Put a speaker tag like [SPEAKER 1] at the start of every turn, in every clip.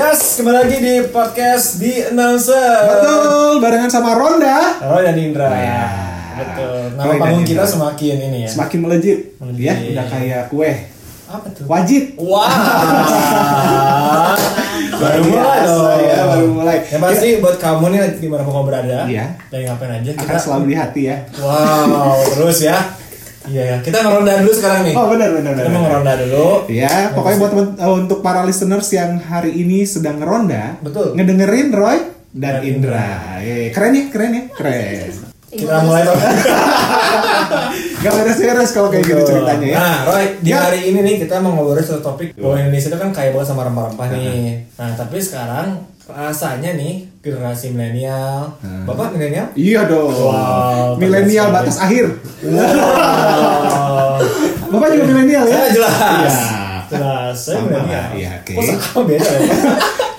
[SPEAKER 1] kembali lagi di podcast di announcer.
[SPEAKER 2] Betul, barengan sama Ronda
[SPEAKER 1] Oh dan Indra.
[SPEAKER 2] Ya.
[SPEAKER 1] Betul. Nama
[SPEAKER 2] Roy dan
[SPEAKER 1] panggung kita
[SPEAKER 2] Indra.
[SPEAKER 1] semakin ini ya.
[SPEAKER 2] semakin melejit,
[SPEAKER 1] Melejit.
[SPEAKER 2] ya, udah kayak kue.
[SPEAKER 1] Apa tuh?
[SPEAKER 2] Wajib.
[SPEAKER 1] Wah. baru mulai
[SPEAKER 2] Biasa,
[SPEAKER 1] dong.
[SPEAKER 2] ya, baru mulai.
[SPEAKER 1] Ya pasti buat kamu nih di mana pun kamu berada.
[SPEAKER 2] Iya.
[SPEAKER 1] Lagi ngapain aja kita.
[SPEAKER 2] Akan selalu di hati ya.
[SPEAKER 1] Wow, terus ya. Iya ya. Kita ngeronda dulu sekarang nih.
[SPEAKER 2] Oh, benar benar
[SPEAKER 1] Kita mau
[SPEAKER 2] benar.
[SPEAKER 1] ngeronda dulu.
[SPEAKER 2] Ya, pokoknya buat temen- eh, untuk para listeners yang hari ini sedang ngeronda,
[SPEAKER 1] Betul.
[SPEAKER 2] ngedengerin Roy dan
[SPEAKER 1] Dan
[SPEAKER 2] Indra. Eh, keren ya, keren ya, keren.
[SPEAKER 1] Kita mulai dong.
[SPEAKER 2] Gak beres-beres kalau kayak gitu ceritanya ya.
[SPEAKER 1] Nah, Roy, di
[SPEAKER 2] Ya. Iya.
[SPEAKER 1] hari ini nih kita mau ngobrolin satu topik bahwa Indonesia itu kan kaya banget sama rempah-rempah nih. Nah, tapi sekarang rasanya nih generasi milenial, bapak milenial?
[SPEAKER 2] Iya dong.
[SPEAKER 1] Wow,
[SPEAKER 2] milenial
[SPEAKER 1] keren
[SPEAKER 2] batas akhir.
[SPEAKER 1] Wow.
[SPEAKER 2] Bapak juga milenial ya?
[SPEAKER 1] Oh. Saya jelas.
[SPEAKER 2] Iya.
[SPEAKER 1] Jelas, saya
[SPEAKER 2] Sama,
[SPEAKER 1] milenial.
[SPEAKER 2] iya, oke.
[SPEAKER 1] Kok sama beda ya?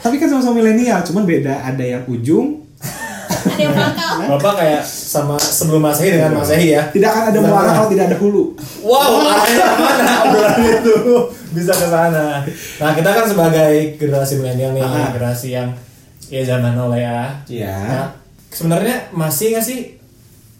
[SPEAKER 2] Tapi kan sama-sama milenial, cuman beda ada yang ujung,
[SPEAKER 3] ada yang pangkal
[SPEAKER 1] Bapak kayak sama sebelum Masehi dengan Masehi ya.
[SPEAKER 2] tidak akan ada
[SPEAKER 1] Sama.
[SPEAKER 2] muara kalau tidak ada hulu.
[SPEAKER 1] Wow, arahnya kemana obrolan itu? Bisa ke sana. Nah, kita kan sebagai generasi milenial nih,
[SPEAKER 2] Ah.
[SPEAKER 1] generasi yang ya zaman now lah ya.
[SPEAKER 2] Iya.
[SPEAKER 1] Nah, sebenarnya masih nggak sih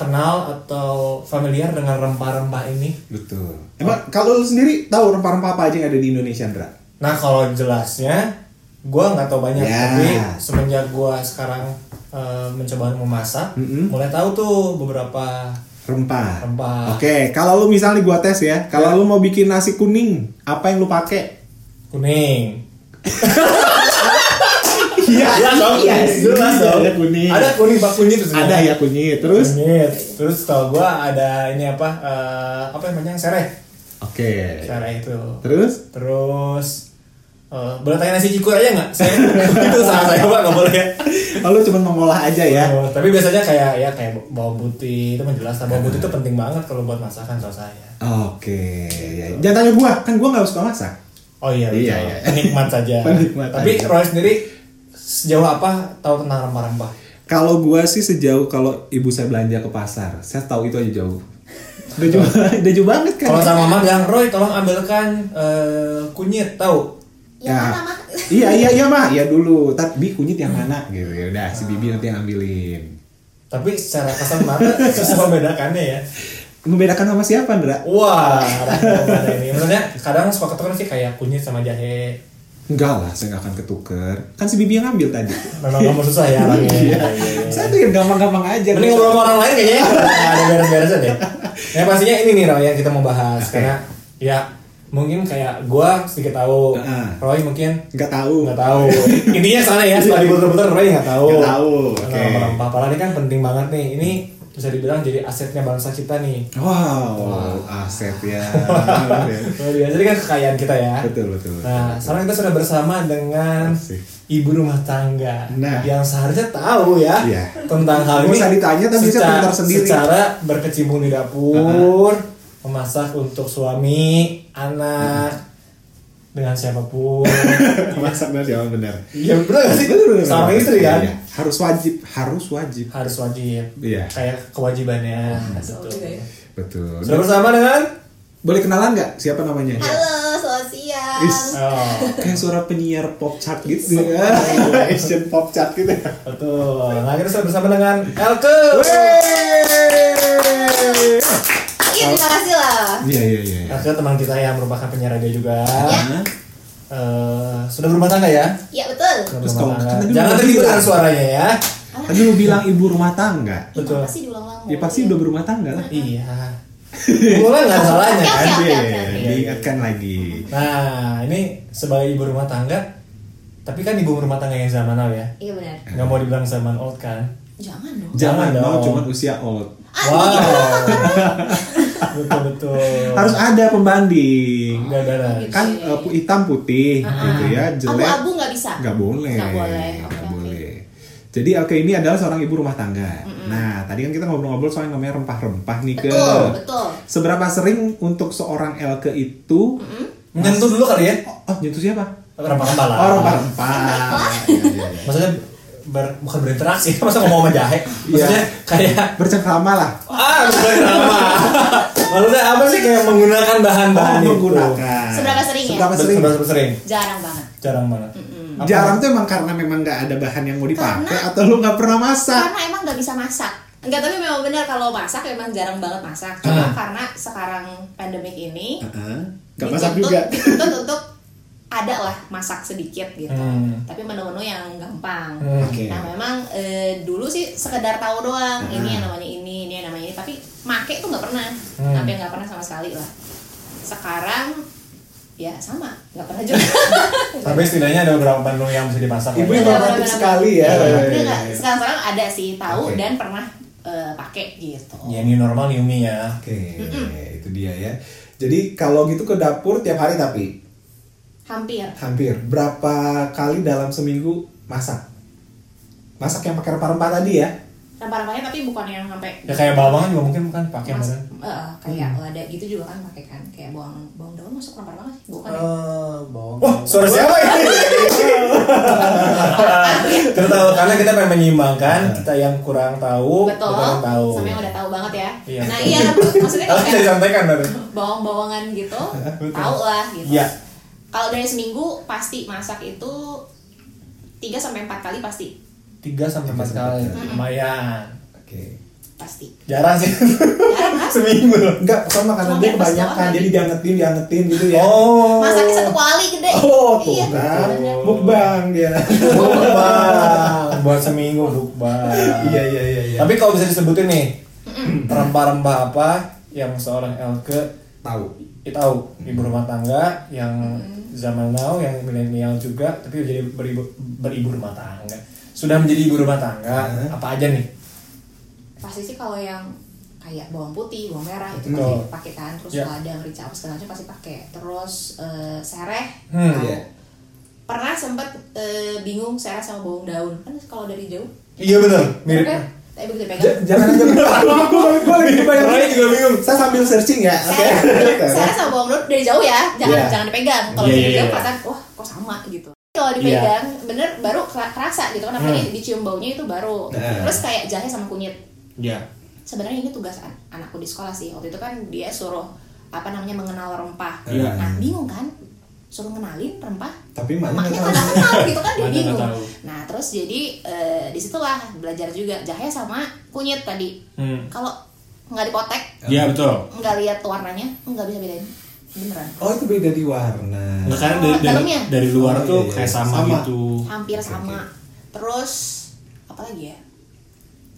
[SPEAKER 1] kenal atau familiar dengan rempah-rempah ini?
[SPEAKER 2] Betul. Oh. Emang kalau lu sendiri tahu rempah-rempah apa aja yang ada di Indonesia, Andra?
[SPEAKER 1] Nah, kalau jelasnya, gua nggak tahu banyak.
[SPEAKER 2] Ya.
[SPEAKER 1] Tapi semenjak gua sekarang eh, mencoba memasak,
[SPEAKER 2] Mm-mm.
[SPEAKER 1] mulai tahu tuh beberapa
[SPEAKER 2] Rempah.
[SPEAKER 1] Rempah.
[SPEAKER 2] Oke, kalau lu misalnya gua tes ya, kalau lu mau bikin nasi kuning, apa yang lu pakai?
[SPEAKER 1] kuning.
[SPEAKER 2] Iya,
[SPEAKER 1] jelas dong.
[SPEAKER 2] Ada kuning.
[SPEAKER 1] Ada kuning, pak kunyit itu
[SPEAKER 2] Ada ya kunyit. Terus
[SPEAKER 1] Kunyit. Terus tau gua ada ini apa? eh, apa namanya? Sereh.
[SPEAKER 2] Oke.
[SPEAKER 1] Sereh itu.
[SPEAKER 2] Terus
[SPEAKER 1] Terus eh, boleh tanya nasi cikur aja nggak? Saya itu salah saya pak nggak boleh.
[SPEAKER 2] lalu cuma Oh, mengolah aja ya.
[SPEAKER 1] Eh, tapi biasanya kayak ya kayak bawang putih itu menjelas. Bawang putih itu penting banget kalau buat masakan kalau saya.
[SPEAKER 2] Oke. ya. Jangan tanya gua, kan gua nggak suka masak.
[SPEAKER 1] Oh iya,
[SPEAKER 2] Iya,
[SPEAKER 1] betul.
[SPEAKER 2] iya.
[SPEAKER 1] Penikmat saja.
[SPEAKER 2] Penikmat
[SPEAKER 1] tapi
[SPEAKER 2] aja.
[SPEAKER 1] Roy sendiri sejauh apa tahu tentang rempah-rempah?
[SPEAKER 2] Kalau gua sih sejauh kalau ibu saya belanja ke pasar, saya tahu itu aja jauh. Udah jauh, udah jauh banget kan.
[SPEAKER 1] Kalau sama mama bilang Roy tolong ambilkan eh, kunyit tahu?
[SPEAKER 3] yang
[SPEAKER 2] Ya.
[SPEAKER 3] mana mah
[SPEAKER 2] iya iya iya mah, iya dulu. Tapi kunyit yang mana gitu ya udah si bibi nanti yang ambilin.
[SPEAKER 1] Tapi secara kasar mata susah membedakannya ya.
[SPEAKER 2] Membedakan sama siapa, Ndra?
[SPEAKER 1] Wah, rempah-rempah ini. Maksudnya kadang suka ketuker sih kayak kunyit sama jahe.
[SPEAKER 2] Enggak lah, saya nggak akan ketuker. Kan si bibi yang ngambil tadi.
[SPEAKER 1] Memang kamu susah ya orangnya. Iya, iya, iya.
[SPEAKER 2] saya tuh yang gampang-gampang aja.
[SPEAKER 1] Mending ngobrol sama orang lain kayaknya ya. Nggak ada beres-beresnya deh. Nah, pastinya ini nih Roy yang kita mau bahas
[SPEAKER 2] Oke.
[SPEAKER 1] karena ya mungkin kayak gua sedikit tahu,
[SPEAKER 2] Heeh.
[SPEAKER 1] Roy mungkin
[SPEAKER 2] Nggak tahu.
[SPEAKER 1] nggak tahu. Intinya sana ya, setelah diputer-puter Roy nggak tahu.
[SPEAKER 2] Iya.
[SPEAKER 1] Nah,
[SPEAKER 2] Nggak tahu, oke. Hmm.
[SPEAKER 1] Rempah-rempah apalagi kan penting banget nih. Ini bisa dibilang jadi asetnya bangsa kita nih.
[SPEAKER 2] Wow, aset ya.
[SPEAKER 1] Luar biasa, Jadi kan kekayaan kita ya.
[SPEAKER 2] betul, betul. betul.
[SPEAKER 1] Nah, sekarang kita sudah bersama dengan
[SPEAKER 2] Asik.
[SPEAKER 1] ibu rumah tangga
[SPEAKER 2] Nah.
[SPEAKER 1] yang seharusnya tahu ya
[SPEAKER 2] Iya.
[SPEAKER 1] tentang hal
[SPEAKER 2] Nggak
[SPEAKER 1] ini.
[SPEAKER 2] usah ditanya, tapi bisa
[SPEAKER 1] secara,
[SPEAKER 2] pintar sendiri.
[SPEAKER 1] secara berkecimpung di dapur, memasak untuk suami, anak, dengan siapapun.
[SPEAKER 2] Masak benar siapa benar.
[SPEAKER 1] Iya benar nggak sih?
[SPEAKER 2] Ya, Bener, bener,
[SPEAKER 1] Sama
[SPEAKER 2] bener.
[SPEAKER 1] istri kan
[SPEAKER 2] Iya, harus wajib, harus wajib.
[SPEAKER 1] harus wajib.
[SPEAKER 2] Iya. Hmm.
[SPEAKER 1] Kayak kewajibannya. Betul.
[SPEAKER 3] juga ya.
[SPEAKER 2] Betul.
[SPEAKER 1] Sudah bersama dengan
[SPEAKER 2] Boleh kenalan nggak siapa namanya?
[SPEAKER 3] halo selamat siang
[SPEAKER 2] Iya. Is.
[SPEAKER 1] Oh,
[SPEAKER 2] Kayak suara penyiar pop chart gitu
[SPEAKER 3] Iya.
[SPEAKER 2] ya. Asian pop chart gitu.
[SPEAKER 1] betul. Nah, kita sudah bersama dengan Elke.
[SPEAKER 3] iya terima kasih lah
[SPEAKER 2] Iya iya iya.
[SPEAKER 1] Elke teman kita yang merupakan penyiar radio juga.
[SPEAKER 3] Iya.
[SPEAKER 2] Hah?
[SPEAKER 1] eh sudah berumah tangga ya?
[SPEAKER 3] ya betul
[SPEAKER 1] Sudah
[SPEAKER 2] Terus
[SPEAKER 1] berumah
[SPEAKER 2] kalau-
[SPEAKER 1] tangga.
[SPEAKER 2] kan tadi
[SPEAKER 1] Jangan
[SPEAKER 2] udah
[SPEAKER 1] terhibur
[SPEAKER 2] bilang.
[SPEAKER 1] suaranya ya.
[SPEAKER 2] Tadi lu bilang ibu rumah tangga.
[SPEAKER 1] Betul.
[SPEAKER 3] Ih, Iya, pasti diulang-ulang
[SPEAKER 2] Ya pasti udah berumah tangga lah.
[SPEAKER 1] Iya. Mulai nggak salahnya kan?
[SPEAKER 2] ya,
[SPEAKER 3] Oke, oke, oke.
[SPEAKER 2] Ade, Diingatkan lagi.
[SPEAKER 1] Nah, ini sebagai ibu rumah tangga, tapi kan ibu rumah tangga yang zaman now ya.
[SPEAKER 3] iya benar
[SPEAKER 1] Nggak mau dibilang zaman old kan?
[SPEAKER 3] jangan dong
[SPEAKER 2] Jangan
[SPEAKER 1] Jangan
[SPEAKER 2] mau
[SPEAKER 1] dong.
[SPEAKER 2] cuman usia old.
[SPEAKER 3] Ah,
[SPEAKER 1] Wow.
[SPEAKER 3] iya.
[SPEAKER 1] betul betul.
[SPEAKER 2] Harus ada pembanding.
[SPEAKER 1] Udah, udah, udah.
[SPEAKER 2] Kan eh, pu- hitam putih gitu ya, jelek
[SPEAKER 3] Iya. Ah. abu-abu nggak bisa
[SPEAKER 2] nggak boleh
[SPEAKER 3] Nggak boleh, oke,
[SPEAKER 2] Nggak
[SPEAKER 3] oke.
[SPEAKER 2] boleh. jadi oke ini adalah seorang ibu rumah tangga nah tadi kan kita ngobrol-ngobrol soal yang namanya rempah-rempah nih ke
[SPEAKER 3] betul betul
[SPEAKER 2] seberapa sering untuk seorang Elke itu
[SPEAKER 1] Menyentuh dulu kali ya.
[SPEAKER 2] oh nyentuh siapa
[SPEAKER 1] Rempah-rempah lah.
[SPEAKER 2] oh rempah-rempah Ya, ya, ya.
[SPEAKER 1] Maksudnya ber, bukan berinteraksi masa ngomong sama jahe
[SPEAKER 2] Iya.
[SPEAKER 1] maksudnya kayak
[SPEAKER 2] bercengkrama lah
[SPEAKER 1] ah bukan drama maksudnya apa sih kayak menggunakan bahan-bahan
[SPEAKER 2] Oh,
[SPEAKER 1] itu.
[SPEAKER 2] menggunakan
[SPEAKER 3] Seberapa sering ya?
[SPEAKER 2] seberapa
[SPEAKER 1] Ber-
[SPEAKER 2] sering
[SPEAKER 1] seberapa sering
[SPEAKER 3] Jarang banget.
[SPEAKER 1] jarang banget Apa-
[SPEAKER 2] jarang tuh emang karena memang nggak ada bahan yang mau dipakai
[SPEAKER 3] Karena-
[SPEAKER 2] atau lu nggak pernah masak
[SPEAKER 3] Karena emang nggak bisa masak. Enggak, tapi memang benar kalau masak emang jarang banget masak. Cuma
[SPEAKER 2] Ah.
[SPEAKER 3] karena sekarang pandemik ini
[SPEAKER 2] Heeh. nggak masak
[SPEAKER 3] dituntut-
[SPEAKER 2] juga
[SPEAKER 3] Dituntut untuk ada lah masak sedikit gitu.
[SPEAKER 1] Hmm.
[SPEAKER 3] Tapi menu-menu yang gampang.
[SPEAKER 1] Hmm.
[SPEAKER 2] Oke. Hmm.
[SPEAKER 3] Nah memang eh, dulu sih sekedar tahu doang ini yang namanya ini, ini yang namanya ini. Tapi make tuh nggak pernah,
[SPEAKER 1] Hmm.
[SPEAKER 3] sampai nggak pernah sama sekali lah. Sekarang ya sama, nggak pernah juga.
[SPEAKER 1] tapi setidaknya ada beberapa menu yang bisa dimasak ya.
[SPEAKER 2] Ibu
[SPEAKER 1] lagi.
[SPEAKER 2] yang romantis sekali ya.
[SPEAKER 3] Iya,
[SPEAKER 2] Iya,
[SPEAKER 3] tapi
[SPEAKER 2] iya,
[SPEAKER 3] nggak-
[SPEAKER 2] iya.
[SPEAKER 3] Sekarang-sekarang ada sih tahu
[SPEAKER 2] Oke. Iya.
[SPEAKER 3] dan pernah eh, pakai gitu.
[SPEAKER 1] ya new normal new me ya
[SPEAKER 2] oke itu dia ya jadi kalau gitu ke dapur tiap hari tapi
[SPEAKER 3] Hampir.
[SPEAKER 2] hampir berapa kali dalam seminggu masak masak yang pakai rempah-rempah tadi ya
[SPEAKER 3] Rempah-rempahnya tapi bukan yang sampai
[SPEAKER 1] ya kayak bawang juga mungkin bukan pakai
[SPEAKER 3] Mas-
[SPEAKER 1] mungkin
[SPEAKER 3] eh, kayak
[SPEAKER 1] Hmm.
[SPEAKER 3] lada gitu juga kan pakai kan kayak bawang bawang daun masuk rempah banget sih bukan ya?
[SPEAKER 2] Oh,
[SPEAKER 1] Wah, suara siapa ini? Tertawa karena kita pengen
[SPEAKER 2] Nah.
[SPEAKER 1] menyimbangkan kita yang kurang tahu,
[SPEAKER 3] betul
[SPEAKER 1] kita yang Oh, tahu.
[SPEAKER 3] sama yang udah tahu banget ya
[SPEAKER 1] Iya,
[SPEAKER 3] nah
[SPEAKER 1] betul.
[SPEAKER 3] iya maksudnya
[SPEAKER 1] Harus
[SPEAKER 3] kayak
[SPEAKER 1] disampaikan dari.
[SPEAKER 3] bawang-bawangan gitu
[SPEAKER 1] Betul.
[SPEAKER 3] tahu lah gitu
[SPEAKER 1] Iya.
[SPEAKER 3] kalau dari seminggu pasti masak itu 3 sampai empat kali pasti
[SPEAKER 1] Tiga sampai empat kali, lumayan.
[SPEAKER 2] oke
[SPEAKER 3] pasti
[SPEAKER 1] Jarang sih,
[SPEAKER 3] jarang kan
[SPEAKER 1] seminggu loh.
[SPEAKER 2] enggak sama karena
[SPEAKER 3] Cuma
[SPEAKER 2] dia
[SPEAKER 3] kayak pas
[SPEAKER 2] kebanyakan
[SPEAKER 3] doang
[SPEAKER 2] jadi
[SPEAKER 3] tadi.
[SPEAKER 2] diangetin diangetin gitu ya
[SPEAKER 1] Oh, Nah.
[SPEAKER 3] masaknya satu kuali gede
[SPEAKER 2] oh tuh
[SPEAKER 3] iya
[SPEAKER 2] kan
[SPEAKER 3] bener.
[SPEAKER 2] mukbang dia
[SPEAKER 1] Dukbang. buat seminggu dukbang.
[SPEAKER 2] iya iya iya iya
[SPEAKER 1] Tapi kalau bisa disebutin nih, rempah-rempah apa yang seorang Elke
[SPEAKER 2] tahu
[SPEAKER 1] kita tahu ibu rumah tangga yang zaman now yang milenial juga tapi jadi beribu, beribu rumah tangga sudah menjadi ibu rumah tangga
[SPEAKER 2] Hmm.
[SPEAKER 1] apa aja nih
[SPEAKER 3] pasti sih kalau yang kayak bawang putih, bawang merah itu
[SPEAKER 1] Betul.
[SPEAKER 3] pakai pakai kan terus
[SPEAKER 1] Iya.
[SPEAKER 3] lada, merica, apa segala macam pasti pakai. Terus eh, sereh,
[SPEAKER 1] Hmm,
[SPEAKER 3] tahu.
[SPEAKER 2] iya.
[SPEAKER 3] Pernah sempat eh, bingung sereh sama bawang daun. Kan kalau dari jauh
[SPEAKER 1] iya benar mirip
[SPEAKER 3] kan? Tapi begitu dipegang.
[SPEAKER 2] J- jangan jangan gue gue lagi
[SPEAKER 1] Raya
[SPEAKER 2] kebayang
[SPEAKER 1] juga bingung
[SPEAKER 2] saya sambil searching ya oke
[SPEAKER 3] Sereh, sereh sama bawang daun dari jauh ya. Jangan
[SPEAKER 2] Iya.
[SPEAKER 3] jangan dipegang. Kalau
[SPEAKER 1] Iya, iya,
[SPEAKER 3] dipegang
[SPEAKER 1] iya.
[SPEAKER 3] perasaan wah kok sama gitu. Kalau dipegang bener baru kera- kerasa gitu kan apalagi dicium baunya itu baru.
[SPEAKER 2] Nah.
[SPEAKER 3] Terus kayak jahe sama kunyit.
[SPEAKER 1] ya
[SPEAKER 2] Iya.
[SPEAKER 3] sebenarnya ini tugas an- anakku di sekolah sih waktu itu kan dia suruh apa namanya mengenal rempah
[SPEAKER 2] Iya.
[SPEAKER 3] nah bingung kan suruh kenalin rempah
[SPEAKER 2] tapi maknya
[SPEAKER 3] maknya
[SPEAKER 2] nggak
[SPEAKER 3] kan
[SPEAKER 2] tahu.
[SPEAKER 3] nggak kenal gitu kan dia
[SPEAKER 1] Maknya nggak
[SPEAKER 3] bingung
[SPEAKER 1] tahu.
[SPEAKER 3] nah terus jadi eh, disitulah belajar juga jahe sama kunyit tadi
[SPEAKER 1] hmm.
[SPEAKER 3] kalau nggak dipotek
[SPEAKER 2] Iya,
[SPEAKER 1] ya betul
[SPEAKER 3] nggak lihat warnanya nggak bisa bedain beneran
[SPEAKER 2] oh itu beda di warna
[SPEAKER 1] Nggak, karena
[SPEAKER 3] Oh,
[SPEAKER 1] kan dari, dari,
[SPEAKER 3] dalamnya?
[SPEAKER 1] dari luar
[SPEAKER 2] Oh,
[SPEAKER 1] tuh
[SPEAKER 2] iya, iya.
[SPEAKER 1] kayak sama,
[SPEAKER 2] Sama.
[SPEAKER 1] gitu
[SPEAKER 3] hampir
[SPEAKER 2] Oh, Oke,
[SPEAKER 3] sama terus apa lagi ya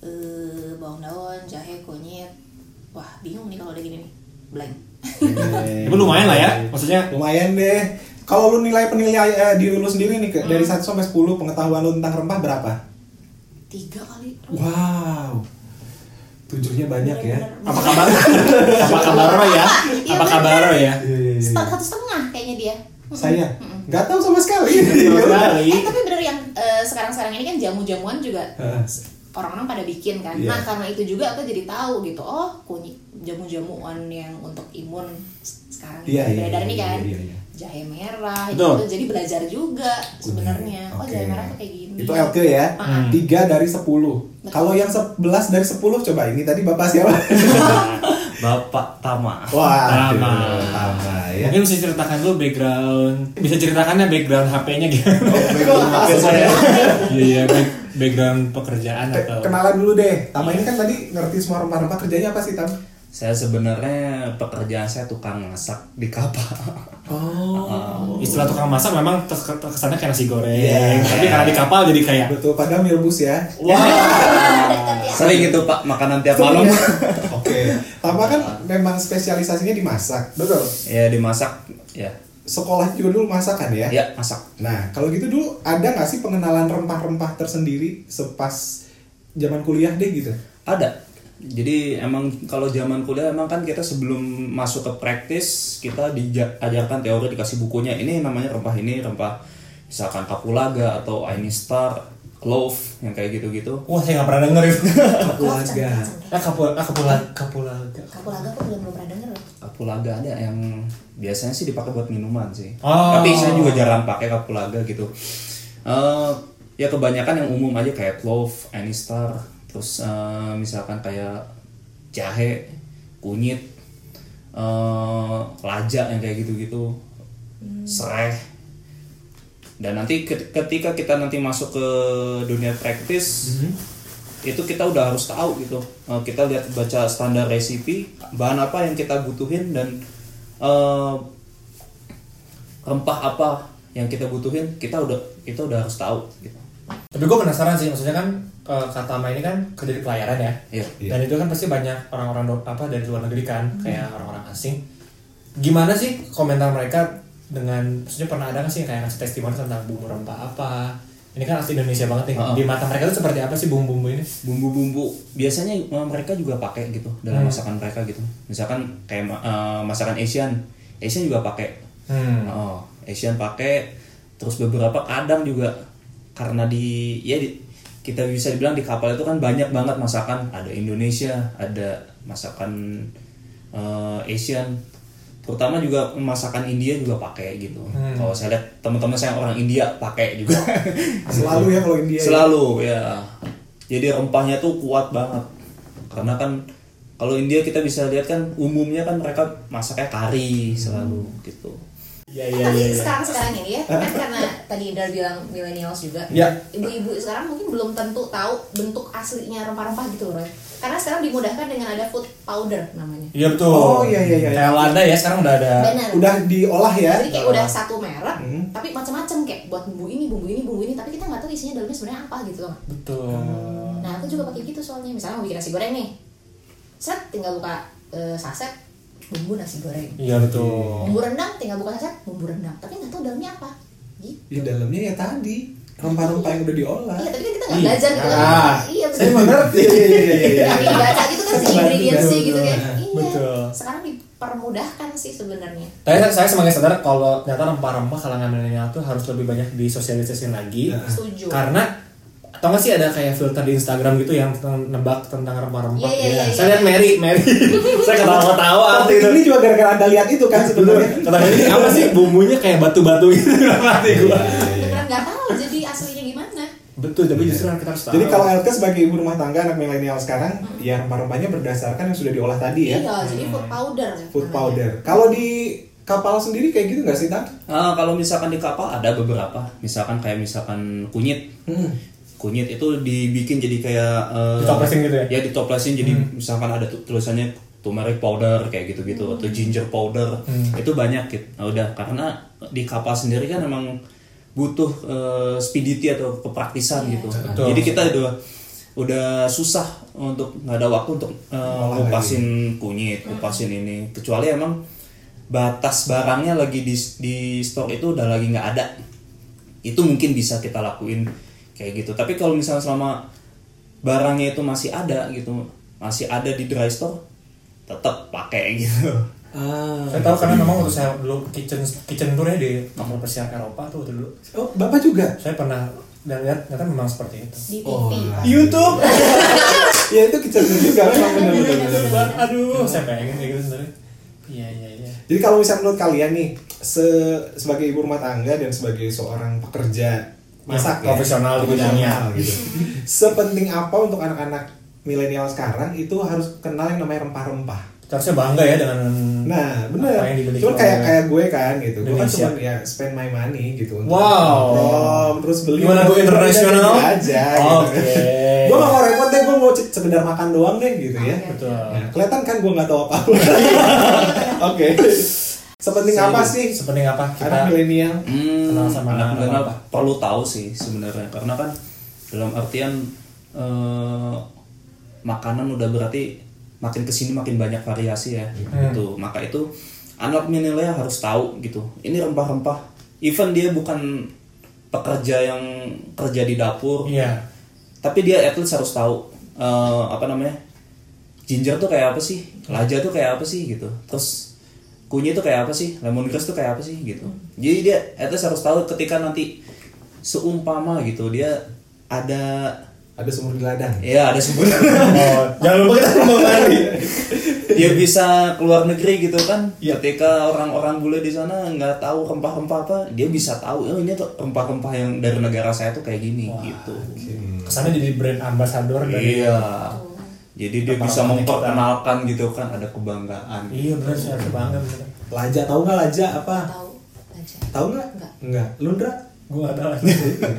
[SPEAKER 3] Eh, bawang daun jahe kunyit wah bingung nih kalau udah gini nih blank
[SPEAKER 2] Oke.
[SPEAKER 1] itu lumayan lah ya maksudnya
[SPEAKER 2] lumayan deh kalau lu nilai penilai eh, diri lu sendiri nih Kak, dari 1 sampai 10 pengetahuan lu tentang rempah berapa
[SPEAKER 3] tiga kali
[SPEAKER 2] Iya, wow tujuhnya banyak ya
[SPEAKER 3] Bener-bener.
[SPEAKER 1] apa kabar apa kabar ya
[SPEAKER 3] Iya,
[SPEAKER 1] apa kabar ya
[SPEAKER 2] Iya, iya, iya.
[SPEAKER 3] Setengah- satu setengah kayaknya dia.
[SPEAKER 2] saya nggak tahu sama sekali Iya.
[SPEAKER 1] Betul sekali
[SPEAKER 3] Eh tapi bener yang eh, sekarang-sekarang ini kan jamu-jamuan juga
[SPEAKER 2] Heeh.
[SPEAKER 3] orang-orang pada bikin kan.
[SPEAKER 2] Iya.
[SPEAKER 3] Nah karena itu juga aku jadi tahu gitu. Oh kunyit jamu-jamuan yang untuk imun s- sekarang
[SPEAKER 2] Iya, iya,
[SPEAKER 3] beredar nih
[SPEAKER 2] iya,
[SPEAKER 3] kan.
[SPEAKER 2] iya, iya.
[SPEAKER 3] Jahe merah
[SPEAKER 1] Betul.
[SPEAKER 3] itu jadi belajar juga sebenarnya. Oh
[SPEAKER 2] Oke.
[SPEAKER 3] jahe merah tuh kayak gini.
[SPEAKER 2] Itu LK ya.
[SPEAKER 3] Ah.
[SPEAKER 2] Tiga dari sepuluh. Kalau yang sebelas dari sepuluh coba ini tadi bapak siapa?
[SPEAKER 4] Bapak Tama.
[SPEAKER 1] Tama.
[SPEAKER 2] Wah. aduh, Tama ya.
[SPEAKER 1] mungkin bisa ceritakan dulu background bisa ceritakannya background HP-nya gitu
[SPEAKER 2] Langsung
[SPEAKER 1] biasanya
[SPEAKER 2] ya.
[SPEAKER 1] iya iya back- background pekerjaan
[SPEAKER 2] Ke-
[SPEAKER 1] atau
[SPEAKER 2] Kenalan dulu deh. Tama ini kan tadi ngerti semua rempah-rempah kerjanya apa sih Tam?
[SPEAKER 4] Saya sebenarnya pekerjaan saya tukang masak di kapal.
[SPEAKER 1] Oh. Istilah tukang masak memang terke- terkesannya kayak nasi goreng,
[SPEAKER 2] Iya.
[SPEAKER 1] tapi karena di kapal jadi kayak Eh,
[SPEAKER 2] Betul. Padahal mie rebus ya.
[SPEAKER 4] Sering itu Pak makanan tiap
[SPEAKER 2] Sering
[SPEAKER 4] malam.
[SPEAKER 2] ya? Oke. Tama kan memang spesialisasinya dimasak. Betul.
[SPEAKER 4] ya dimasak ya.
[SPEAKER 2] Sekolah juga dulu masakan ya.
[SPEAKER 4] Ya masak.
[SPEAKER 2] Nah kalau gitu dulu ada nggak sih pengenalan rempah-rempah tersendiri sepas zaman kuliah deh gitu?
[SPEAKER 4] Ada. Jadi emang kalau zaman kuliah emang kan kita sebelum masuk ke praktis kita diajarkan teori dikasih bukunya ini namanya rempah ini rempah misalkan kapulaga atau Ainistar, clove yang kayak gitu-gitu.
[SPEAKER 1] wah saya nggak pernah denger itu.
[SPEAKER 2] Kapulaga.
[SPEAKER 1] ah kapul ah kapula kapulaga.
[SPEAKER 3] Kapulaga aku belum belum pernah denger loh.
[SPEAKER 4] kapulaga ada yang biasanya sih dipakai buat minuman sih
[SPEAKER 1] Oh.
[SPEAKER 4] tapi saya juga jarang pakai kapulaga gitu Eh, ya kebanyakan yang umum aja kayak clove, anistar, terus eh, misalkan kayak jahe, kunyit, eh, laja yang kayak gitu-gitu, sereh. Dan nanti ke- ketika kita nanti masuk ke dunia praktis, itu kita udah harus tahu gitu. Eh, kita lihat baca standar resipi, bahan apa yang kita butuhin dan eh, rempah apa yang kita butuhin kita udah kita udah harus tahu gitu
[SPEAKER 1] Tapi gue penasaran sih, maksudnya kan eh, Katama ini kan kerja di pelayaran ya.
[SPEAKER 4] Iya.
[SPEAKER 1] Dan itu kan pasti banyak orang-orang do- apa dari luar negeri kan, kayak
[SPEAKER 4] Hmm.
[SPEAKER 1] orang-orang asing. Gimana sih komentar mereka dengan maksudnya pernah ada nggak sih kayak ngasih testimoni tentang bumbu rempah apa? Ini kan asli Indonesia banget nih.
[SPEAKER 4] Heeh.
[SPEAKER 1] Di mata mereka tuh seperti apa sih bumbu-bumbu ini?
[SPEAKER 4] bumbu-bumbu biasanya eh, mereka juga pakai gitu dalam masakan mereka gitu misalkan kayak ma- eh, masakan Asian Asian juga pakai
[SPEAKER 1] Hmm.
[SPEAKER 4] oh Asian pakai terus beberapa kadang juga karena di ya di- kita bisa dibilang di kapal itu kan banyak banget masakan ada Indonesia ada masakan eh, Asian terutama juga masakan India juga pakai gitu kalau saya lihat teman-teman saya yang orang India pakai juga
[SPEAKER 2] Selalu ya kalau India.
[SPEAKER 4] selalu ya jadi rempahnya tuh kuat banget karena kan kalau India kita bisa lihat kan umumnya kan mereka masaknya kari selalu gitu
[SPEAKER 1] Iya iya
[SPEAKER 3] Tapi
[SPEAKER 1] iya. iya.
[SPEAKER 3] sekarang sekarang ini ya, kan karena tadi Indra bilang millennials juga,
[SPEAKER 1] Iya.
[SPEAKER 3] ibu-ibu sekarang mungkin belum tentu tahu bentuk aslinya rempah-rempah gitu loh, Roy. Karena sekarang dimudahkan dengan ada food powder namanya.
[SPEAKER 1] Iya betul.
[SPEAKER 2] Oh, iya, iya, iya.
[SPEAKER 1] Kayak Lada ya sekarang udah ada.
[SPEAKER 3] Benar.
[SPEAKER 2] Udah diolah ya.
[SPEAKER 1] Iya.
[SPEAKER 3] Jadi kayak udah satu merek,
[SPEAKER 1] Hmm.
[SPEAKER 3] tapi macam-macam kayak buat bumbu ini, bumbu ini, bumbu ini, tapi kita nggak tahu isinya dalamnya sebenarnya apa gitu loh.
[SPEAKER 1] Betul.
[SPEAKER 3] Nah aku juga pakai gitu soalnya, misalnya mau bikin nasi goreng nih, set tinggal buka eh, saset, bumbu nasi goreng.
[SPEAKER 1] Iya betul.
[SPEAKER 3] Bumbu rendang tinggal buka saset, bumbu rendang, tapi nggak tahu dalamnya apa. Gitu.
[SPEAKER 2] Di dalamnya ya tadi rempah-rempah yang udah diolah.
[SPEAKER 3] Iya, tapi kan kita nggak belajar gitu kan.
[SPEAKER 1] Ah,
[SPEAKER 3] iya,
[SPEAKER 1] saya
[SPEAKER 3] betul.
[SPEAKER 1] mengerti.
[SPEAKER 2] Iya iya iya iya.
[SPEAKER 3] Tapi baca gitu kan si ingredients-nya gitu kan. Iya.
[SPEAKER 1] Betul.
[SPEAKER 3] Sekarang dipermudahkan sih sebenarnya.
[SPEAKER 1] Tapi saya sebagai saudara kalau ternyata rempah-rempah kalangan milenial tuh harus lebih banyak disosialisasikan lagi.
[SPEAKER 3] Setuju.
[SPEAKER 1] Karena tau gak sih ada kayak filter di Instagram gitu yang tentang nebak tentang rempah-rempah.
[SPEAKER 3] Iya, iya, iya,
[SPEAKER 1] Saya lihat Mary, Mary. saya ketawa-ketawa waktu Oh, itu.
[SPEAKER 2] Ini juga gara-gara anda lihat itu kan sebenarnya.
[SPEAKER 1] Kata ini apa sih bumbunya kayak batu-batu gitu dalam hati gua.
[SPEAKER 3] Iya. Beneran nggak tahu jadi aslinya gimana.
[SPEAKER 1] Betul, tapi justru kan kita harus tahu.
[SPEAKER 2] Jadi kalau LK sebagai ibu rumah tangga anak milenial sekarang, ya rempah-rempahnya berdasarkan yang sudah diolah tadi ya,
[SPEAKER 3] Iya, jadi food powder.
[SPEAKER 2] food
[SPEAKER 3] namanya.
[SPEAKER 2] powder. Kalau di kapal sendiri kayak gitu nggak sih Tan?
[SPEAKER 4] Ah, kalau misalkan di kapal ada beberapa misalkan kayak misalkan kunyit
[SPEAKER 1] Hmm.
[SPEAKER 4] kunyit itu dibikin jadi kayak eh,
[SPEAKER 1] Ditoplesin gitu ya?
[SPEAKER 4] ya ditoplesin jadi misalkan ada tu- tulisannya turmeric powder kayak gitu gitu atau ginger powder itu banyak gitu Nah, udah karena di kapal sendiri kan emang butuh eh, speedity atau kepraktisan gitu
[SPEAKER 1] Betul.
[SPEAKER 4] jadi kita udah udah susah untuk nggak ada waktu untuk eh, ngupasin kunyit kupasin ini kecuali emang batas barangnya lagi di di store itu udah lagi nggak ada itu mungkin bisa kita lakuin kayak gitu tapi kalau misalnya selama barangnya itu masih ada gitu masih ada di dry store tetap pakai gitu
[SPEAKER 1] saya tahu karena memang waktu saya dulu kitchen kitchen tour ya di kapal pesiar Eropa tuh waktu dulu.
[SPEAKER 2] Oh, bapak juga?
[SPEAKER 1] Saya pernah dan lihat ternyata memang seperti itu.
[SPEAKER 3] Di TV.
[SPEAKER 2] YouTube. ya itu kejadian juga memang benar-benar.
[SPEAKER 3] Iya.
[SPEAKER 1] Aduh, saya pengen kayak gitu sebenarnya. Iya iya iya.
[SPEAKER 2] Jadi kalau misalnya menurut kalian nih, se- sebagai ibu rumah tangga dan sebagai seorang pekerja masak ya,
[SPEAKER 1] profesional di bidangnya.
[SPEAKER 2] profesional gitu. Sepenting apa untuk anak-anak milenial sekarang itu harus kenal yang namanya rempah-rempah.
[SPEAKER 1] Harusnya bangga ya dengan apa
[SPEAKER 2] Nah,
[SPEAKER 1] yang
[SPEAKER 2] bener.
[SPEAKER 1] dimiliki
[SPEAKER 2] Cuma
[SPEAKER 1] oleh-
[SPEAKER 2] kayak kayak gue kan gitu. Gue kan
[SPEAKER 1] Indonesia.
[SPEAKER 2] cuma ya spend my money gitu. untuk
[SPEAKER 1] Wow.
[SPEAKER 2] nongkrong, terus beli. gitu
[SPEAKER 1] Gimana gue internasional?
[SPEAKER 2] Aja.
[SPEAKER 1] Oke.
[SPEAKER 2] gue gak mau repot deh. Gue mau c- sekedar makan doang deh gitu ya.
[SPEAKER 1] Betul.
[SPEAKER 2] Nah, kelihatan kan gue nggak tahu apa. Oke. Sepenting apa sih
[SPEAKER 1] Sepenting apa kita?
[SPEAKER 2] anak milenial?
[SPEAKER 4] Hmm,
[SPEAKER 1] Kenal sama
[SPEAKER 4] anak
[SPEAKER 1] anak
[SPEAKER 4] milenial
[SPEAKER 1] apa?
[SPEAKER 4] perlu tahu sih sebenarnya karena kan dalam artian eh, makanan udah berarti makin kesini makin banyak variasi ya
[SPEAKER 1] Hmm.
[SPEAKER 4] gitu maka itu anak milenial harus tahu gitu ini rempah-rempah even dia bukan pekerja yang kerja di dapur
[SPEAKER 1] Iya.
[SPEAKER 4] tapi dia at least harus tahu eh, apa namanya ginger tuh kayak apa sih laja tuh kayak apa sih gitu terus kunyit tuh kayak apa sih lemongrass tuh kayak apa sih gitu jadi dia at least harus tahu ketika nanti seumpama gitu dia ada
[SPEAKER 2] ada sumur di ladang
[SPEAKER 4] Iya ada sebut.
[SPEAKER 1] Oh, jangan lupa kita mau mandi.
[SPEAKER 4] Dia bisa keluar negeri gitu kan.
[SPEAKER 1] Iya.
[SPEAKER 4] Ketika orang-orang bule di sana nggak tahu rempah-rempah apa, dia bisa tahu. Oh ini tuh rempah-rempah yang dari negara saya tuh kayak gini gitu.
[SPEAKER 1] Kesannya jadi brand ambassador dari
[SPEAKER 4] Iya. Jadi dia bisa memperkenalkan gitu kan ada kebanggaan.
[SPEAKER 1] Iya benar sih harus banget. bener.
[SPEAKER 2] laja tahu nggak laja apa
[SPEAKER 3] tahu aja
[SPEAKER 2] tahu nggak
[SPEAKER 3] Nggak.
[SPEAKER 2] nggak lu Ndra?
[SPEAKER 1] Gua gak tahu.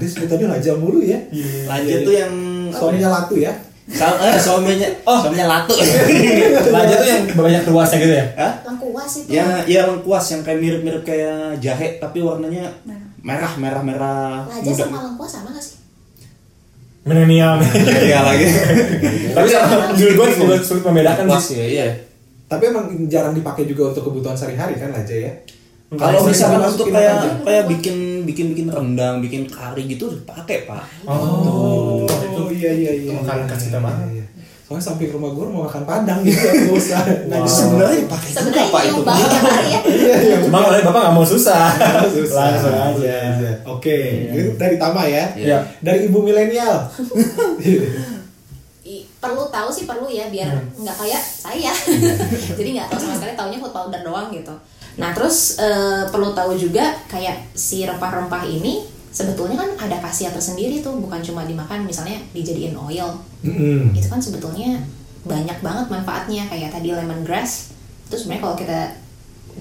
[SPEAKER 2] dia sebut tadi laja mulu ya
[SPEAKER 1] Iya.
[SPEAKER 4] Lanjut tuh yang
[SPEAKER 2] soalnya laku ya
[SPEAKER 4] Sa- eh, suaminya, oh, suaminya latu.
[SPEAKER 1] Laja tuh yang banyak ruasnya gitu ya.
[SPEAKER 4] Hah?
[SPEAKER 3] lengkuas itu
[SPEAKER 4] Ya, ya lengkuas yang kayak mirip-mirip kayak jahe tapi warnanya merah merah merah
[SPEAKER 3] laja
[SPEAKER 4] muda.
[SPEAKER 3] sama lengkuas sama gak sih
[SPEAKER 1] Milenial.
[SPEAKER 4] Iya lagi.
[SPEAKER 1] Tapi sama jujur gue sulit, sulit membedakan
[SPEAKER 4] Lengkuas
[SPEAKER 1] sih.
[SPEAKER 4] ya, iya.
[SPEAKER 2] tapi emang jarang dipakai juga untuk kebutuhan sehari-hari kan laja ya
[SPEAKER 4] Kalau
[SPEAKER 1] Masukin
[SPEAKER 4] misalkan
[SPEAKER 2] aja.
[SPEAKER 4] untuk kayak kayak bikin bikin bikin rendang, bikin kari gitu udah dipakai pak.
[SPEAKER 1] Oh, itu
[SPEAKER 2] iya iya
[SPEAKER 1] Makanan khas kita banget.
[SPEAKER 2] Iya, iya. soalnya samping rumah gue mau makan padang gitu nggak usah
[SPEAKER 4] Itu
[SPEAKER 2] nanya
[SPEAKER 4] Sebenarnya dipakai juga
[SPEAKER 3] sebenarnya
[SPEAKER 4] pak
[SPEAKER 3] yang
[SPEAKER 4] itu.
[SPEAKER 3] banget tiap hari ya
[SPEAKER 1] Cuma kalau bapak nggak mau susah,
[SPEAKER 2] Susah.
[SPEAKER 1] langsung aja.
[SPEAKER 2] oke itu dari Tama ya
[SPEAKER 1] Iya.
[SPEAKER 2] dari ibu milenial
[SPEAKER 3] I- perlu tahu sih perlu ya biar nggak kayak saya jadi nggak tahu sama sekali taunya food powder doang gitu nah terus eh, perlu tahu juga kayak si rempah-rempah ini sebetulnya kan ada khasiat tersendiri tuh bukan cuma dimakan misalnya dijadiin oil
[SPEAKER 2] Mm-mm.
[SPEAKER 3] itu kan sebetulnya banyak banget manfaatnya kayak tadi lemongrass itu sebenarnya kalau kita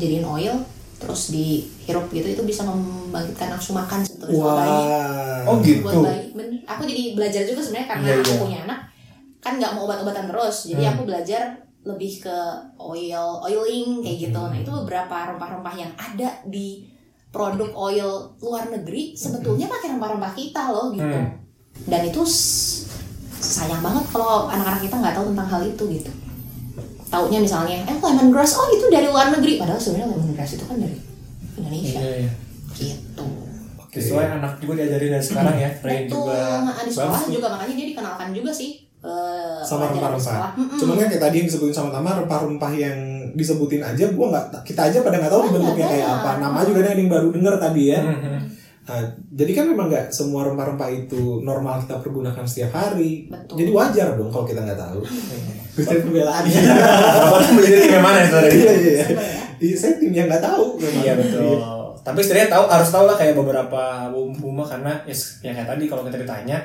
[SPEAKER 3] jadiin oil terus dihirup gitu itu bisa membangkitkan nafsu makan sebetulnya buat bayi
[SPEAKER 2] wah
[SPEAKER 1] Oh gitu.
[SPEAKER 3] buat bayi Bener. aku jadi belajar juga sebenarnya karena
[SPEAKER 1] Iya,
[SPEAKER 3] aku
[SPEAKER 1] iya. Hmm.
[SPEAKER 3] punya anak kan nggak mau obat-obatan terus jadi aku belajar lebih ke oil oiling kayak gitu
[SPEAKER 1] Hmm.
[SPEAKER 3] nah itu beberapa rempah-rempah yang ada di produk oil luar negeri sebetulnya pakai rempah-rempah kita loh gitu
[SPEAKER 1] Hmm.
[SPEAKER 3] dan itu s- sayang banget kalau anak-anak kita nggak tahu tentang hal itu gitu taunya misalnya eh lemongrass oh itu dari luar negeri padahal sebenarnya lemongrass itu kan dari Indonesia
[SPEAKER 1] Iya, iya.
[SPEAKER 3] gitu
[SPEAKER 2] Oke.
[SPEAKER 1] Sesuai anak juga diajarin dari sekarang ya, Ray
[SPEAKER 3] Betul,
[SPEAKER 1] juga.
[SPEAKER 3] nah, di sekolah
[SPEAKER 1] Bagus.
[SPEAKER 3] juga makanya dia dikenalkan juga sih eh,
[SPEAKER 2] sama
[SPEAKER 3] pelajaran di sekolah.
[SPEAKER 2] rempah-rempah.
[SPEAKER 3] Mm-mm.
[SPEAKER 2] Cuman kan kayak tadi yang disebutin sama Tama rempah-rempah yang disebutin aja gua nggak ta- kita aja pada nggak
[SPEAKER 1] Ah,
[SPEAKER 2] tahu
[SPEAKER 3] Banyak,
[SPEAKER 2] bentuknya
[SPEAKER 1] iya,
[SPEAKER 2] kayak
[SPEAKER 3] banyak.
[SPEAKER 2] apa. Nama juga ada yang baru denger tadi ya.
[SPEAKER 1] Mhm.
[SPEAKER 2] Nah, jadi kan memang nggak semua rempah-rempah itu normal kita pergunakan setiap hari.
[SPEAKER 3] Betul.
[SPEAKER 2] Jadi wajar dong kalau kita nggak tahu. Gue cari pembelaan. Iya
[SPEAKER 1] Bapak tuh menjadi tim yang mana ya saudara?
[SPEAKER 2] iya iya. Iya saya tim yang nggak tahu. memang.
[SPEAKER 1] Iya betul. Tapi setidaknya tahu harus tahu lah kayak beberapa bumbu mah karena ya, yang kayak tadi kalau kita ditanya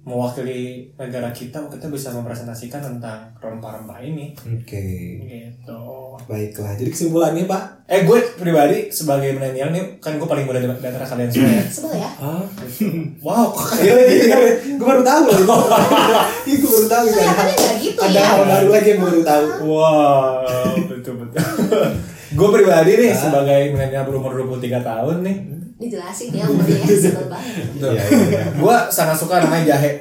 [SPEAKER 1] mewakili negara kita kita bisa mempresentasikan tentang rempah-rempah ini
[SPEAKER 2] Oke.
[SPEAKER 1] gitu.
[SPEAKER 2] Baiklah. Jadi kesimpulannya Pak.
[SPEAKER 1] Eh gue pribadi sebagai milenial nih kan gue paling muda di di antara kalian semua ya.
[SPEAKER 3] Sebel ya?
[SPEAKER 2] Hah?
[SPEAKER 1] Wow, kok
[SPEAKER 2] Iya,
[SPEAKER 1] kayak
[SPEAKER 2] iya, iya. Gue baru tahu loh. Iya gue baru tahu. Ada hal-
[SPEAKER 3] Kelihatannya nggak gitu
[SPEAKER 2] Ada
[SPEAKER 3] ya.
[SPEAKER 2] hal baru lagi yang gue baru tahu.
[SPEAKER 1] Wow, betul betul. gue pribadi nih sebagai milenial berumur 23 tahun nih,
[SPEAKER 3] Dijelasin ya umurnya sebel banget.
[SPEAKER 2] Iya iya. iya.
[SPEAKER 1] gue sangat suka namanya jahe.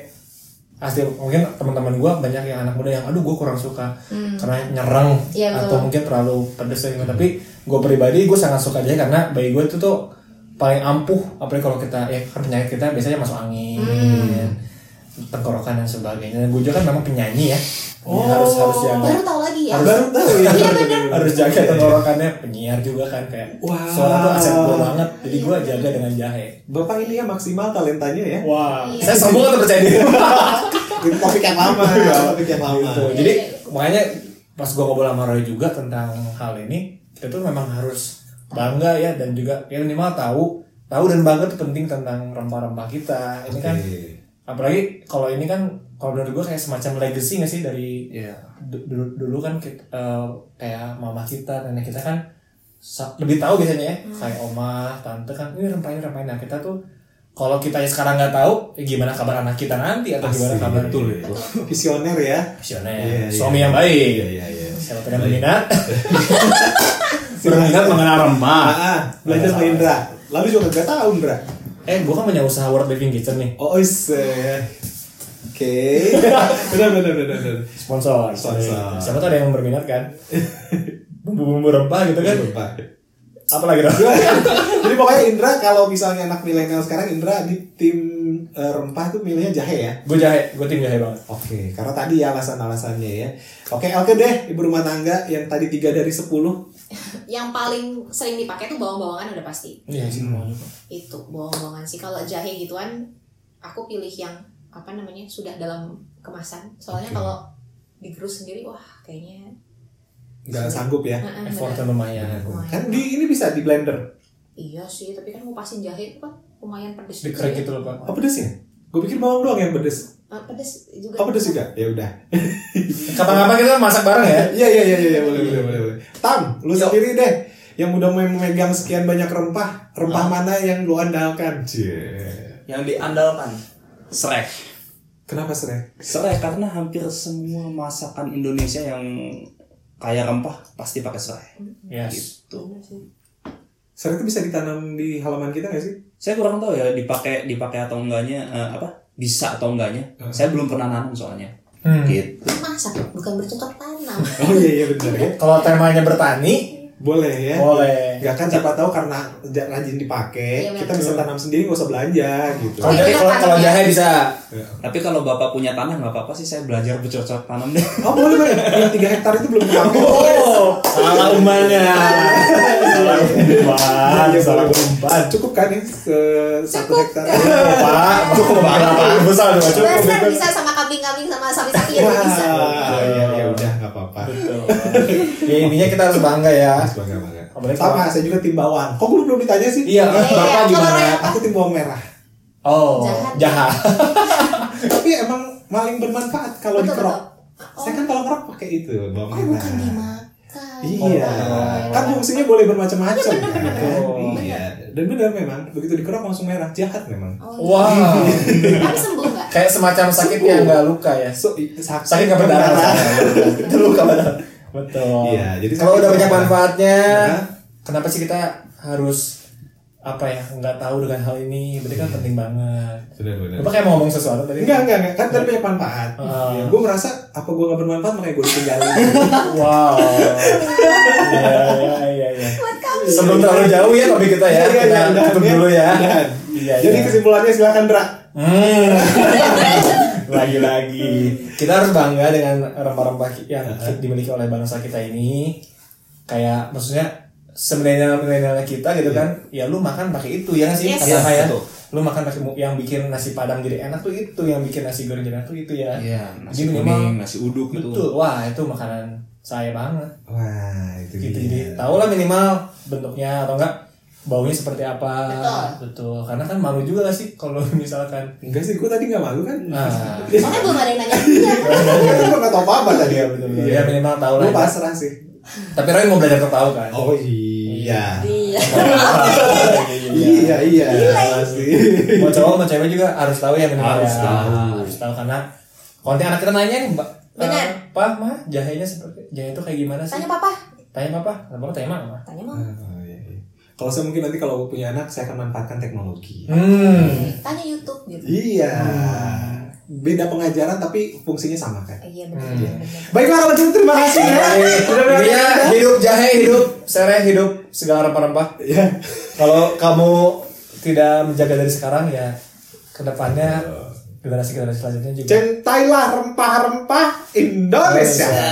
[SPEAKER 1] Asli mungkin teman-teman gue banyak yang anak muda yang aduh gue kurang suka karena nyerang
[SPEAKER 3] Hmm. Iya, betul.
[SPEAKER 1] atau mungkin terlalu pedes gitu. Tapi gue pribadi gue sangat suka jahe karena bagi gue itu tuh paling ampuh apalagi kalau kita ya kan penyakit kita biasanya masuk angin
[SPEAKER 3] Hmm.
[SPEAKER 1] tenggorokan dan sebagainya. Dan gue juga kan memang penyanyi ya. Oh, harus harus jaga
[SPEAKER 3] Baru tahu lagi ya.
[SPEAKER 2] Baru tahu ya.
[SPEAKER 3] Iya benar.
[SPEAKER 1] harus jaga tenggorokannya penyiar juga kan kayak
[SPEAKER 2] Wah.
[SPEAKER 1] suara tuh aset gue banget jadi gue jaga dengan jahe
[SPEAKER 2] Bapak ini ya maksimal talentanya ya.
[SPEAKER 1] wah saya sombong atau percaya diri
[SPEAKER 2] Itu topik yang lama. topik yang lama.
[SPEAKER 1] Gitu. jadi makanya pas gue ngobrol sama Roy juga tentang hal ini kita tuh memang harus bangga ya dan juga ya minimal tahu tahu dan bangga tuh penting tentang rempah-rempah kita ini kan
[SPEAKER 2] Iya.
[SPEAKER 1] apalagi kalau ini kan kalau menurut gue kayak semacam legacy nggak sih dari
[SPEAKER 4] Iya.
[SPEAKER 1] Du- dulu, dulu kan kita, eh, kayak mama kita nenek kita kan sa- lebih tahu biasanya ya kayak oma tante kan ini rempah ini rempah ini." nah kita tuh kalau kita sekarang nggak tahu ya gimana kabar anak kita nanti atau gimana kabar
[SPEAKER 5] betul itu.
[SPEAKER 2] Visioner ya.
[SPEAKER 1] Visioner,
[SPEAKER 2] Iya, iya.
[SPEAKER 1] suami yang baik
[SPEAKER 2] Iya iya iya.
[SPEAKER 1] siapa tidak berminat berminat mengenal rempah
[SPEAKER 4] Nah,
[SPEAKER 2] Ah, ah, belajar sama Indra. Lalu juga gak tahu Indra.
[SPEAKER 1] eh gua kan punya usaha world living kitchen nih
[SPEAKER 2] Oh, is. eh, Oke. Benar benar benar benar.
[SPEAKER 1] sponsor
[SPEAKER 2] Sponsor.
[SPEAKER 1] siapa tuh ada yang berminat kan bumbu-bumbu rempah gitu kan
[SPEAKER 2] Lupa.
[SPEAKER 1] apalagi dong
[SPEAKER 2] Jadi pokoknya Indra kalau misalnya anak milenial sekarang Indra di tim eh, rempah tuh milihnya jahe ya.
[SPEAKER 1] gue jahe gue tim jahe banget
[SPEAKER 2] Oke, karena tadi ya alasan-alasannya ya. Oke, oke deh ibu rumah tangga yang tadi 3 dari 10
[SPEAKER 3] Yang paling sering dipakai tuh bawang-bawangan udah pasti.
[SPEAKER 1] iya sih mau juga
[SPEAKER 3] Itu bawang-bawangan sih kalau jahe gituan aku pilih yang apa namanya sudah dalam kemasan soalnya kalau digerus sendiri wah kayaknya
[SPEAKER 2] nggak sanggup ya
[SPEAKER 3] Nah, ah,
[SPEAKER 1] effortnya
[SPEAKER 3] beneran.
[SPEAKER 1] lumayan
[SPEAKER 3] Lumayan.
[SPEAKER 2] kan di ini bisa di blender
[SPEAKER 3] iya sih tapi kan ngupasin jahe itu kan lumayan pedes juga
[SPEAKER 1] dikerek
[SPEAKER 3] ya.
[SPEAKER 1] gitu loh pak
[SPEAKER 2] apa pedes ya gue pikir bawang doang yang pedes
[SPEAKER 3] Ah, pedes juga
[SPEAKER 2] apa pedes juga ya udah
[SPEAKER 1] kapan-kapan kita masak bareng ya
[SPEAKER 2] Iya iya iya iya boleh boleh boleh boleh. Tam, lu sendiri deh yang udah mau memegang sekian banyak rempah, rempah mana yang lu andalkan? Cie.
[SPEAKER 4] Yang diandalkan Shrek.
[SPEAKER 2] Kenapa sering?
[SPEAKER 4] Serai karena hampir semua masakan Indonesia yang kaya rempah pasti pakai serai.
[SPEAKER 1] yes
[SPEAKER 4] Gitu.
[SPEAKER 2] Sering itu bisa ditanam di halaman kita gak sih?
[SPEAKER 4] Saya kurang tahu ya dipakai dipakai atau enggaknya eh, apa bisa atau enggaknya.
[SPEAKER 1] Hmm.
[SPEAKER 4] Saya belum pernah nanam soalnya. Gitu.
[SPEAKER 3] masak bukan bercocok tanam
[SPEAKER 2] Oh iya iya benar ya.
[SPEAKER 1] kalau temanya bertani
[SPEAKER 2] Boleh ya.
[SPEAKER 1] boleh
[SPEAKER 2] Gak kan siapa tahu karena ja- rajin dipakai,
[SPEAKER 3] Iya,
[SPEAKER 2] kita
[SPEAKER 3] benar.
[SPEAKER 2] bisa tanam sendiri nggak usah belanja gitu.
[SPEAKER 1] kalau
[SPEAKER 3] Iya,
[SPEAKER 1] jahe- kalau
[SPEAKER 3] tanam
[SPEAKER 1] kalau
[SPEAKER 3] ya.
[SPEAKER 1] jahe bisa
[SPEAKER 4] Tapi kalau bapak punya tanah nggak apa-apa sih saya belajar bercocok tanam deh.
[SPEAKER 2] Oh boleh boleh. Yang tiga hektar itu belum dipakai.
[SPEAKER 1] Oh, salah umpannya. salah umpan,
[SPEAKER 2] Iya,
[SPEAKER 1] salah
[SPEAKER 2] boleh, boleh.
[SPEAKER 1] umpan.
[SPEAKER 2] Cukup kan ya se- satu hektar?
[SPEAKER 3] Iya,
[SPEAKER 1] Pak, cukup berapa? Besar dong, cukup.
[SPEAKER 3] Dasar bisa sama kambing-kambing sama sapi-sapi ya
[SPEAKER 2] Wah,
[SPEAKER 3] bisa
[SPEAKER 2] iya ya udah nggak apa-apa.
[SPEAKER 1] Ya intinya kita harus bangga ya.
[SPEAKER 2] Mas bangga bangga.
[SPEAKER 1] Apalagi
[SPEAKER 2] Sama,
[SPEAKER 1] kalau-
[SPEAKER 2] saya juga tim bawang. Kok lu belum ditanya sih?
[SPEAKER 1] Iya,
[SPEAKER 3] Iya,
[SPEAKER 1] bapak
[SPEAKER 3] kalau
[SPEAKER 1] gimana?
[SPEAKER 3] Roy-
[SPEAKER 2] Aku tim bawang merah.
[SPEAKER 1] Oh,
[SPEAKER 3] Jahat.
[SPEAKER 1] jahat.
[SPEAKER 2] Tapi emang paling bermanfaat kalau
[SPEAKER 3] Betul,
[SPEAKER 2] dikerok.
[SPEAKER 3] betul.
[SPEAKER 2] Saya kan kalau ngerok pakai itu bawang
[SPEAKER 3] oh
[SPEAKER 2] merah.
[SPEAKER 3] bukan dimakan
[SPEAKER 2] Iya.
[SPEAKER 1] Oh.
[SPEAKER 2] Kan fungsinya boleh bermacam-macam.
[SPEAKER 3] Iya, bener, bener,
[SPEAKER 2] kan?
[SPEAKER 1] bener.
[SPEAKER 2] Iya. Dan benar memang begitu dikerok langsung merah jahat memang.
[SPEAKER 3] Oh, iya.
[SPEAKER 1] Wow.
[SPEAKER 3] tapi sembuh nggak
[SPEAKER 1] Kayak semacam sakit yang nggak luka ya.
[SPEAKER 2] So, i- sak-
[SPEAKER 1] Sakit nggak berdarah. Itu luka berdarah. Betul.
[SPEAKER 2] Iya, jadi
[SPEAKER 1] kalau
[SPEAKER 2] sakit Iya.
[SPEAKER 1] udah banyak
[SPEAKER 2] berdarah.
[SPEAKER 1] manfaatnya,
[SPEAKER 2] Hah?
[SPEAKER 1] kenapa sih kita harus apa ya nggak tahu dengan hal ini? Berarti
[SPEAKER 2] Iya.
[SPEAKER 1] kan penting banget.
[SPEAKER 2] Benar benar.
[SPEAKER 1] Bapak kayak mau ngomong sesuatu tadi.
[SPEAKER 2] Enggak, enggak, enggak. Kan tadi banyak manfaat.
[SPEAKER 1] Ah.
[SPEAKER 2] Ya, gue merasa apa gue gak bermanfaat makanya gue ditinggalin. iya,
[SPEAKER 1] Wow. Iya, iya, iya, iya. Sebelum terlalu jauh ya topik kita ya.
[SPEAKER 2] Iya, iya,
[SPEAKER 1] Kita
[SPEAKER 2] udahan,
[SPEAKER 1] tutup
[SPEAKER 2] ya.
[SPEAKER 1] dulu ya.
[SPEAKER 2] Udahan.
[SPEAKER 1] Iya,
[SPEAKER 2] Jadi
[SPEAKER 1] iya.
[SPEAKER 2] kesimpulannya silakan, Dra.
[SPEAKER 1] Hmm. Lagi-lagi. Kita harus bangga dengan rempah-rempah ki- yang dimiliki oleh bangsa kita ini. Kayak maksudnya semilenial-milenialnya kita gitu kan. Ya lu makan pakai itu ya nggak sih?
[SPEAKER 3] Yes.
[SPEAKER 1] Kata saya.
[SPEAKER 4] Iya, Betul.
[SPEAKER 1] Lu makan pakai mu- yang bikin nasi padang jadi enak tuh itu, yang bikin nasi goreng jadi enak tuh itu ya.
[SPEAKER 4] Iya,
[SPEAKER 1] Jadi
[SPEAKER 4] nasi
[SPEAKER 1] memang-
[SPEAKER 4] kuning, nasi uduk gitu. itu.
[SPEAKER 1] Betul. Wah, itu makanan saya banget.
[SPEAKER 2] Wah, itu
[SPEAKER 1] gitu jadi
[SPEAKER 2] dia.
[SPEAKER 1] tahu lah minimal bentuknya atau enggak baunya seperti apa
[SPEAKER 3] Betul.
[SPEAKER 1] betul karena kan malu juga gak sih kalau misalkan
[SPEAKER 2] Enggak sih, gue tadi gak malu kan?
[SPEAKER 1] nah
[SPEAKER 3] soalnya belum ada yang nanya dia
[SPEAKER 2] Gue gak tau apa-apa tadi.
[SPEAKER 1] iya betul betul ya minimal tahu lah
[SPEAKER 2] Gue pasrah sih.
[SPEAKER 1] tapi Roy mau belajar tertawa kan
[SPEAKER 2] Oh iya.
[SPEAKER 3] iya
[SPEAKER 2] Iya iya. Pasti.
[SPEAKER 1] Iya. mau cowok mau cewek juga harus tahu ya minimal
[SPEAKER 4] Harus
[SPEAKER 1] ya.
[SPEAKER 4] tahu.
[SPEAKER 1] harus tahu karena konten anak kita nanya nih mbak
[SPEAKER 3] Benar.
[SPEAKER 1] Eh, Pak, mah jahenya seperti jahe itu kayak gimana sih?
[SPEAKER 3] tanya papa
[SPEAKER 1] Tanya papa, kenapa tanya mama?
[SPEAKER 3] tanya mama
[SPEAKER 2] Oh, iya, iya. Kalau saya mungkin nanti kalau punya anak saya akan manfaatkan teknologi.
[SPEAKER 1] Hmm,
[SPEAKER 3] tanya YouTube gitu
[SPEAKER 2] Iya. Beda pengajaran tapi fungsinya sama kan.
[SPEAKER 3] iya benar benar.
[SPEAKER 2] Baiklah kalau gitu terima kasih ya. Sudah
[SPEAKER 1] Iya, hidup jahe, hidup sereh, hidup segala rempah-rempah.
[SPEAKER 2] Iya.
[SPEAKER 1] Kalau kamu tidak menjaga dari sekarang ya kedepannya generasi generasi selanjutnya juga.
[SPEAKER 2] Centailah rempah-rempah Indonesia.
[SPEAKER 1] Iya.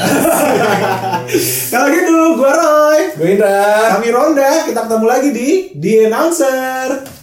[SPEAKER 2] kalau gitu, gua Roy.
[SPEAKER 1] Gue Indra.
[SPEAKER 2] Kami Ronda, kita ketemu lagi di The Announcer.